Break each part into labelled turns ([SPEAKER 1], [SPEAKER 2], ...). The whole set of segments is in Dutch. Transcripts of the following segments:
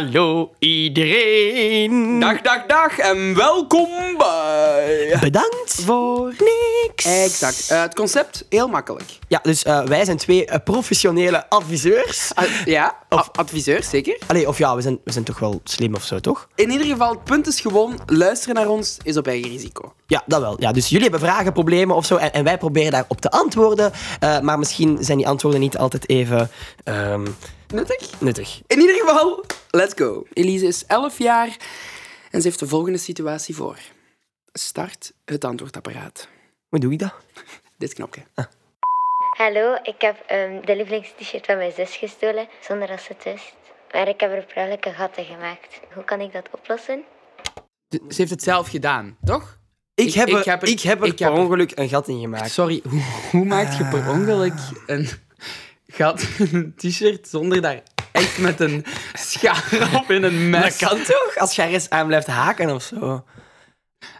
[SPEAKER 1] Hallo iedereen.
[SPEAKER 2] Dag, dag, dag en welkom bij...
[SPEAKER 1] Bedankt voor niks.
[SPEAKER 2] Exact. Eh, het concept, heel makkelijk.
[SPEAKER 1] Ja, dus eh, wij zijn twee eh, professionele adviseurs.
[SPEAKER 2] Ah, ja, of adviseur, zeker.
[SPEAKER 1] Allee, of ja, we zijn, we zijn toch wel slim of zo, toch?
[SPEAKER 2] In ieder geval, het punt is gewoon, luisteren naar ons is op eigen risico.
[SPEAKER 1] Ja, dat wel. Ja, dus jullie hebben vragen, problemen of zo. En, en wij proberen daarop te antwoorden. Eh, maar misschien zijn die antwoorden niet altijd even ehm,
[SPEAKER 2] Nuttig?
[SPEAKER 1] nuttig.
[SPEAKER 2] In ieder geval, let's go. Elise is 11 jaar en ze heeft de volgende situatie voor. Start het antwoordapparaat.
[SPEAKER 1] Hoe doe ik dat?
[SPEAKER 2] Dit knopje.
[SPEAKER 3] Hallo, ik heb ehm, de lievelingst-shirt van mijn zus gestolen, zonder dat ze het wist. Maar ik heb er per ongeluk een gat in gemaakt. Hoe kan ik dat oplossen?
[SPEAKER 2] Ze heeft het zelf gedaan, toch?
[SPEAKER 1] Ik heb er, ik
[SPEAKER 2] heb er-
[SPEAKER 1] heb er
[SPEAKER 2] ik
[SPEAKER 1] per
[SPEAKER 2] heb er-
[SPEAKER 1] ongeluk een gat in gemaakt.
[SPEAKER 2] Sorry, hoe, hoe maak je
[SPEAKER 1] Ah.
[SPEAKER 2] per ongeluk een gat in een t-shirt zonder daar echt met een schaar op in een mes?
[SPEAKER 1] Dat kan toch? Als je ergens aan blijft haken of zo.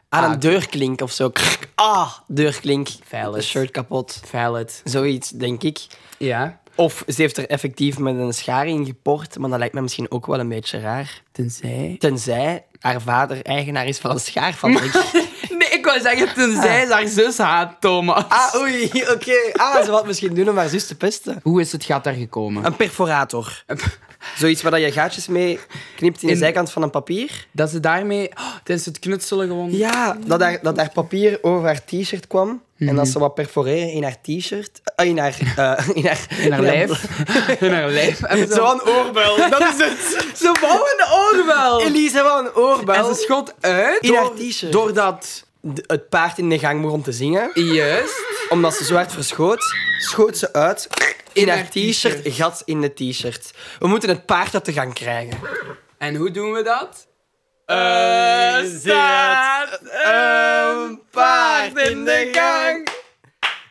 [SPEAKER 1] Aan een
[SPEAKER 2] Ah.
[SPEAKER 1] deurklink of zo. Krk. Ah, deurklink.
[SPEAKER 2] Vuil
[SPEAKER 1] Een
[SPEAKER 2] is.
[SPEAKER 1] shirt kapot.
[SPEAKER 2] Violet.
[SPEAKER 1] Zoiets, denk ik.
[SPEAKER 2] Ja.
[SPEAKER 1] Of ze heeft er effectief met een schaar in geport, maar dat lijkt me misschien ook wel een beetje raar.
[SPEAKER 2] Tenzij...
[SPEAKER 1] Tenzij haar vader eigenaar is van een schaarfabriek.
[SPEAKER 2] Nee, ik wou zeggen tenzij ze haar zus haat, Thomas.
[SPEAKER 1] ah, oei, oké. Ah, ze wat misschien doen om haar zus te pesten.
[SPEAKER 2] Hoe is het gat daar gekomen?
[SPEAKER 1] Een perforator. Zoiets waar dat je gaatjes mee knipt in de
[SPEAKER 2] In-
[SPEAKER 1] zijkant van een papier.
[SPEAKER 2] Dat ze daarmee... Oh, tijdens het knutselen gewoon...
[SPEAKER 1] Ja, dat daar, dat daar papier over haar t-shirt kwam. En dat ze wat perforeren in haar t-shirt. eh, in, haar, eh, in haar...
[SPEAKER 2] In haar lijf. In haar lijf. En zo...
[SPEAKER 1] Zo'n oorbel, dat is het.
[SPEAKER 2] Ze wou een oorbel!
[SPEAKER 1] Elise had een
[SPEAKER 2] Oh, En
[SPEAKER 1] oorbel.
[SPEAKER 2] ze schot uit...
[SPEAKER 1] In haar
[SPEAKER 2] door-
[SPEAKER 1] t-shirt.
[SPEAKER 2] Doordat...
[SPEAKER 1] D- Het paard in de gang begon te zingen.
[SPEAKER 2] Juist.
[SPEAKER 1] Omdat ze zo hard verschoot, schoot ze uit. In
[SPEAKER 2] In
[SPEAKER 1] haar
[SPEAKER 2] haar
[SPEAKER 1] t-shirt, gat in de t-shirt. We moeten het paard uit de gang krijgen.
[SPEAKER 2] En hoe doen we dat?
[SPEAKER 1] Eh, staat een paard in de gang.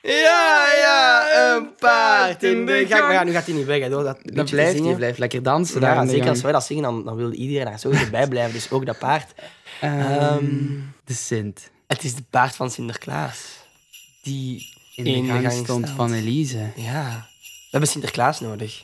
[SPEAKER 1] Ja, ja, een paard in de gang. Maar ja, nu gaat hij niet weg, hè, door dat
[SPEAKER 2] Dat blijft,
[SPEAKER 1] niet
[SPEAKER 2] je blijft lekker dansen daar.
[SPEAKER 1] Ja,
[SPEAKER 2] in de
[SPEAKER 1] zeker
[SPEAKER 2] gang.
[SPEAKER 1] als wij dat zingen, dan, dan wil iedereen daar sowieso bij blijven. Dus ook dat paard.
[SPEAKER 2] Ehm, de Sint.
[SPEAKER 1] Het is de paard van Sinterklaas.
[SPEAKER 2] Die in de, gang, stond
[SPEAKER 1] staat.
[SPEAKER 2] van Elise.
[SPEAKER 1] Ja. We hebben Sinterklaas nodig.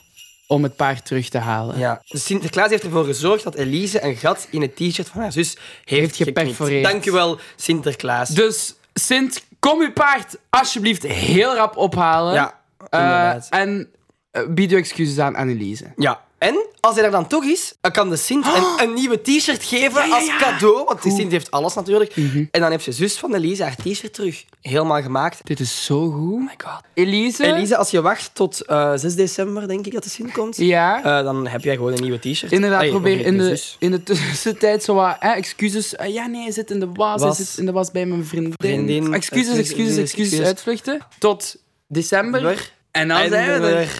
[SPEAKER 2] Om het paard terug te halen.
[SPEAKER 1] Ja. Dus Sinterklaas heeft ervoor gezorgd dat Elise een gat in het t-shirt van haar zus heeft geperforeerd.
[SPEAKER 2] geperforeerd.
[SPEAKER 1] Dank u wel, Sinterklaas.
[SPEAKER 2] Dus Sint, kom uw paard alsjeblieft heel rap ophalen.
[SPEAKER 1] Ja,
[SPEAKER 2] Eh,
[SPEAKER 1] inderdaad.
[SPEAKER 2] en eh, bied uw excuses aan aan Elise.
[SPEAKER 1] Ja. En als hij er dan toch is, dan kan de Sint een, een nieuwe t-shirt geven
[SPEAKER 2] ja, Mhm.
[SPEAKER 1] als
[SPEAKER 2] ja.
[SPEAKER 1] cadeau. Want de Sint heeft alles natuurlijk. En dan heeft ze zus van Elise haar t-shirt terug. Helemaal gemaakt.
[SPEAKER 2] Dit is zo goed. Oh my god. Elise?
[SPEAKER 1] Elise, als je wacht tot eh, 6 december, denk ik, dat de Sint komt.
[SPEAKER 2] Ja.
[SPEAKER 1] eh, dan heb jij gewoon een nieuwe t-shirt.
[SPEAKER 2] Inderdaad,
[SPEAKER 1] Allee,
[SPEAKER 2] probeer
[SPEAKER 1] of
[SPEAKER 2] in
[SPEAKER 1] nieuwe
[SPEAKER 2] de,
[SPEAKER 1] zus.
[SPEAKER 2] in de tussentijd zo wat hè, excuses. Eh, ja, nee, hij zit in de was.
[SPEAKER 1] Was.
[SPEAKER 2] Hij zit in de was bij mijn vriendin.
[SPEAKER 1] Vriendin.
[SPEAKER 2] Excuses, excuses,
[SPEAKER 1] Excuses,
[SPEAKER 2] excuses.
[SPEAKER 1] excuses.
[SPEAKER 2] Uitvluchten. Tot december.
[SPEAKER 1] Weer.
[SPEAKER 2] En dan Nou, zijn we er.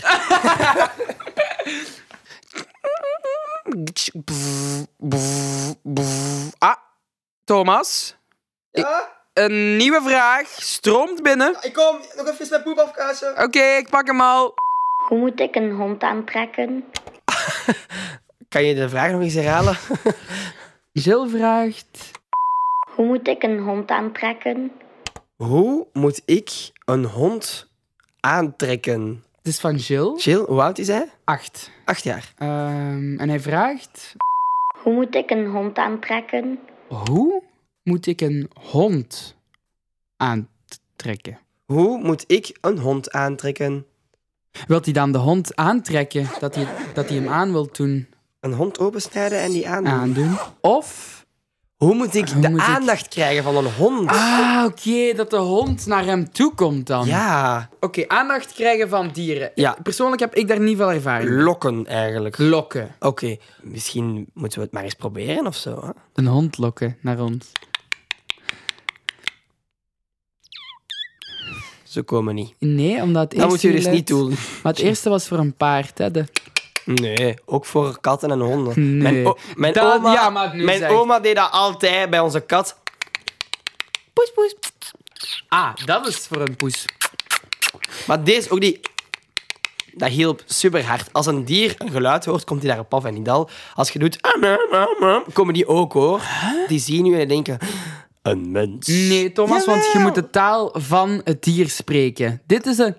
[SPEAKER 2] Ah, Thomas.
[SPEAKER 1] Ja,
[SPEAKER 2] Een nieuwe vraag stroomt binnen.
[SPEAKER 1] ik kom. Nog even mijn poep afkassen.
[SPEAKER 2] Oké, ik pak hem al.
[SPEAKER 3] Hoe moet ik een hond aantrekken?
[SPEAKER 1] Kan je de vraag nog eens herhalen?
[SPEAKER 2] Jill vraagt...
[SPEAKER 3] Hoe moet ik een hond aantrekken?
[SPEAKER 1] Hoe moet ik een hond aantrekken?
[SPEAKER 2] Het is van Jill.
[SPEAKER 1] Jill, hoe oud is hij?
[SPEAKER 2] Acht.
[SPEAKER 1] Acht jaar.
[SPEAKER 2] Ehm, en hij vraagt...
[SPEAKER 3] Hoe moet ik een hond aantrekken?
[SPEAKER 2] Hoe moet ik een hond aantrekken?
[SPEAKER 1] Hoe moet ik een hond aantrekken?
[SPEAKER 2] Wilt hij dan de hond aantrekken? Dat hij, dat hij hem aan wil doen?
[SPEAKER 1] Een hond opensnijden en die aandoen.
[SPEAKER 2] Aandoen. Of...
[SPEAKER 1] Hoe moet ik
[SPEAKER 2] Hoe
[SPEAKER 1] de
[SPEAKER 2] moet ik-
[SPEAKER 1] aandacht krijgen van een hond?
[SPEAKER 2] Ah, oké, dat de hond naar hem toe komt dan.
[SPEAKER 1] Ja,
[SPEAKER 2] Oké, aandacht krijgen van dieren.
[SPEAKER 1] Ja.
[SPEAKER 2] Persoonlijk heb ik daar niet veel ervaring mee.
[SPEAKER 1] lokken eigenlijk.
[SPEAKER 2] Lokken.
[SPEAKER 1] Oké, misschien moeten we het maar eens proberen of zo. Hè?
[SPEAKER 2] Een hond lokken naar ons.
[SPEAKER 1] Ze komen niet.
[SPEAKER 2] Nee, omdat het
[SPEAKER 1] Dat moet
[SPEAKER 2] eerste
[SPEAKER 1] je dus
[SPEAKER 2] geluid-
[SPEAKER 1] niet doen.
[SPEAKER 2] Maar het eerste was voor een paard, hè. De...
[SPEAKER 1] Nee, ook voor katten en honden.
[SPEAKER 2] Nee.
[SPEAKER 1] Mijn, o- mijn,
[SPEAKER 2] Dat-
[SPEAKER 1] oma,
[SPEAKER 2] ja, maar nu
[SPEAKER 1] mijn
[SPEAKER 2] zeg.
[SPEAKER 1] oma deed dat altijd bij onze kat. Poes, poes.
[SPEAKER 2] Ah, dat is voor een poes.
[SPEAKER 1] Maar deze ook die. Dat hielp super hard. Als een dier een geluid hoort, komt hij daarop af en niet al. Als je doet. "Ah, ah, ah, ah," komen die ook hoor. Die zien u en denken. Een mens.
[SPEAKER 2] Nee, Thomas, want je
[SPEAKER 1] Jawel.
[SPEAKER 2] moet de taal van het dier spreken. Dit is een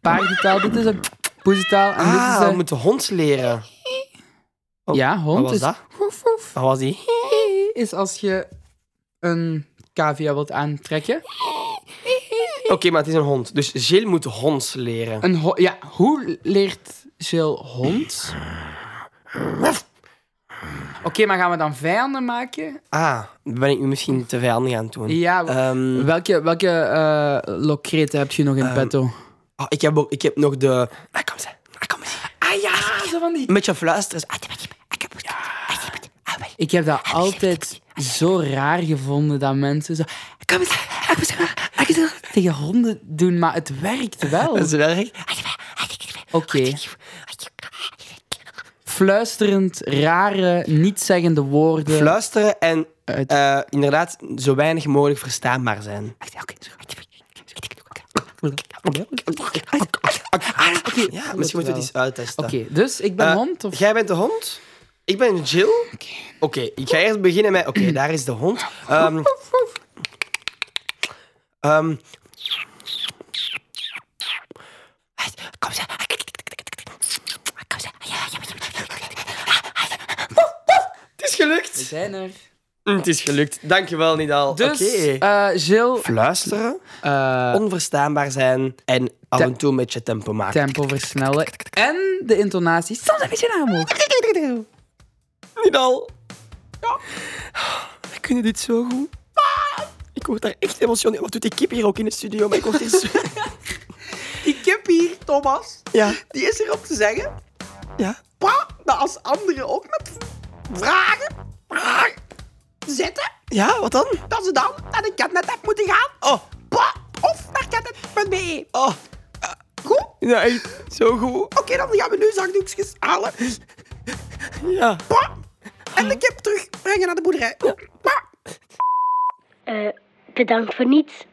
[SPEAKER 2] paardentaal, dit is een poesentaal en
[SPEAKER 1] Ah,
[SPEAKER 2] dit is
[SPEAKER 1] we
[SPEAKER 2] een...
[SPEAKER 1] moeten hond leren. Oh,
[SPEAKER 2] ja, hond
[SPEAKER 1] Wat was
[SPEAKER 2] is...
[SPEAKER 1] dat?
[SPEAKER 2] Woef, woef.
[SPEAKER 1] Wat was die?
[SPEAKER 2] Is als je een cavia wilt aantrekken.
[SPEAKER 1] Oké, maar het is een hond. Dus Gilles moet hond leren.
[SPEAKER 2] Een ho- ja, hoe leert Jill hond? Oké, maar gaan we dan vijanden maken?
[SPEAKER 1] Ah, ben ik nu misschien te vijandig aan het doen.
[SPEAKER 2] Ja,
[SPEAKER 1] Ehm,
[SPEAKER 2] welke, welke eh lokreten heb je nog in petto?
[SPEAKER 1] oh, ik, heb ook, ik heb nog de... Ah, kom eens. Ah, kom eens.
[SPEAKER 2] Ah ja, zo van die...
[SPEAKER 1] Met je fluisters. Ah,
[SPEAKER 2] Ik heb dat altijd zo raar gevonden dat mensen zo... Kom eens,
[SPEAKER 1] Ah,
[SPEAKER 2] kom eens, kom eens, kom eens, Tegen honden doen, maar het werkt wel.
[SPEAKER 1] dat is
[SPEAKER 2] Oké.
[SPEAKER 1] werk.
[SPEAKER 2] Fluisterend, rare, niet-zeggende woorden.
[SPEAKER 1] Fluisteren en
[SPEAKER 2] Uit-
[SPEAKER 1] eh, inderdaad zo weinig mogelijk verstaanbaar zijn. Ah, Ja, misschien moeten we het eens uittesten.
[SPEAKER 2] Oké, dus ik ben
[SPEAKER 1] Eh,
[SPEAKER 2] hond of...
[SPEAKER 1] Jij bent de hond? Ik ben Jill. Oké, ik ga eerst beginnen met... Oké, daar is de hond. Ehm ehm
[SPEAKER 4] Kom ze. Kom ze. Ja, ja,
[SPEAKER 1] het is gelukt.
[SPEAKER 2] zijn er.
[SPEAKER 1] Mm, Het is gelukt. Dankjewel, Nidal.
[SPEAKER 2] Dus,
[SPEAKER 1] Oké.
[SPEAKER 2] eh, Jill...
[SPEAKER 1] Fluisteren,
[SPEAKER 2] eh,
[SPEAKER 1] onverstaanbaar zijn en af
[SPEAKER 2] Te-
[SPEAKER 1] en toe met je tempo maken.
[SPEAKER 2] tempo versnellen. En de intonatie soms een beetje naar omhoog.
[SPEAKER 1] Nidal. We kunnen dit zo goed. Ah, Ik word daar echt emotioneel. Wat doet die kip hier ook in de studio? Maar ik word hier zo...
[SPEAKER 5] Die kip hier, Thomas,
[SPEAKER 1] Ja,
[SPEAKER 5] die is er om te zeggen
[SPEAKER 1] ja.
[SPEAKER 5] pa, dat als anderen ook met vragen, vragen zitten,
[SPEAKER 1] Ja, wat dan?
[SPEAKER 5] dat ze dan naar de catnet app moeten gaan.
[SPEAKER 1] Oh.
[SPEAKER 5] Pa, of naar catnet.be.
[SPEAKER 1] Oh,
[SPEAKER 5] Goed?
[SPEAKER 1] ja, echt zo goed.
[SPEAKER 5] Oké, dan gaan we nu zakdoekjes halen.
[SPEAKER 1] Ja.
[SPEAKER 5] Pa, en
[SPEAKER 1] Oh.
[SPEAKER 5] de kip terugbrengen naar de boerderij. Pa.
[SPEAKER 6] Eh, bedankt voor niets.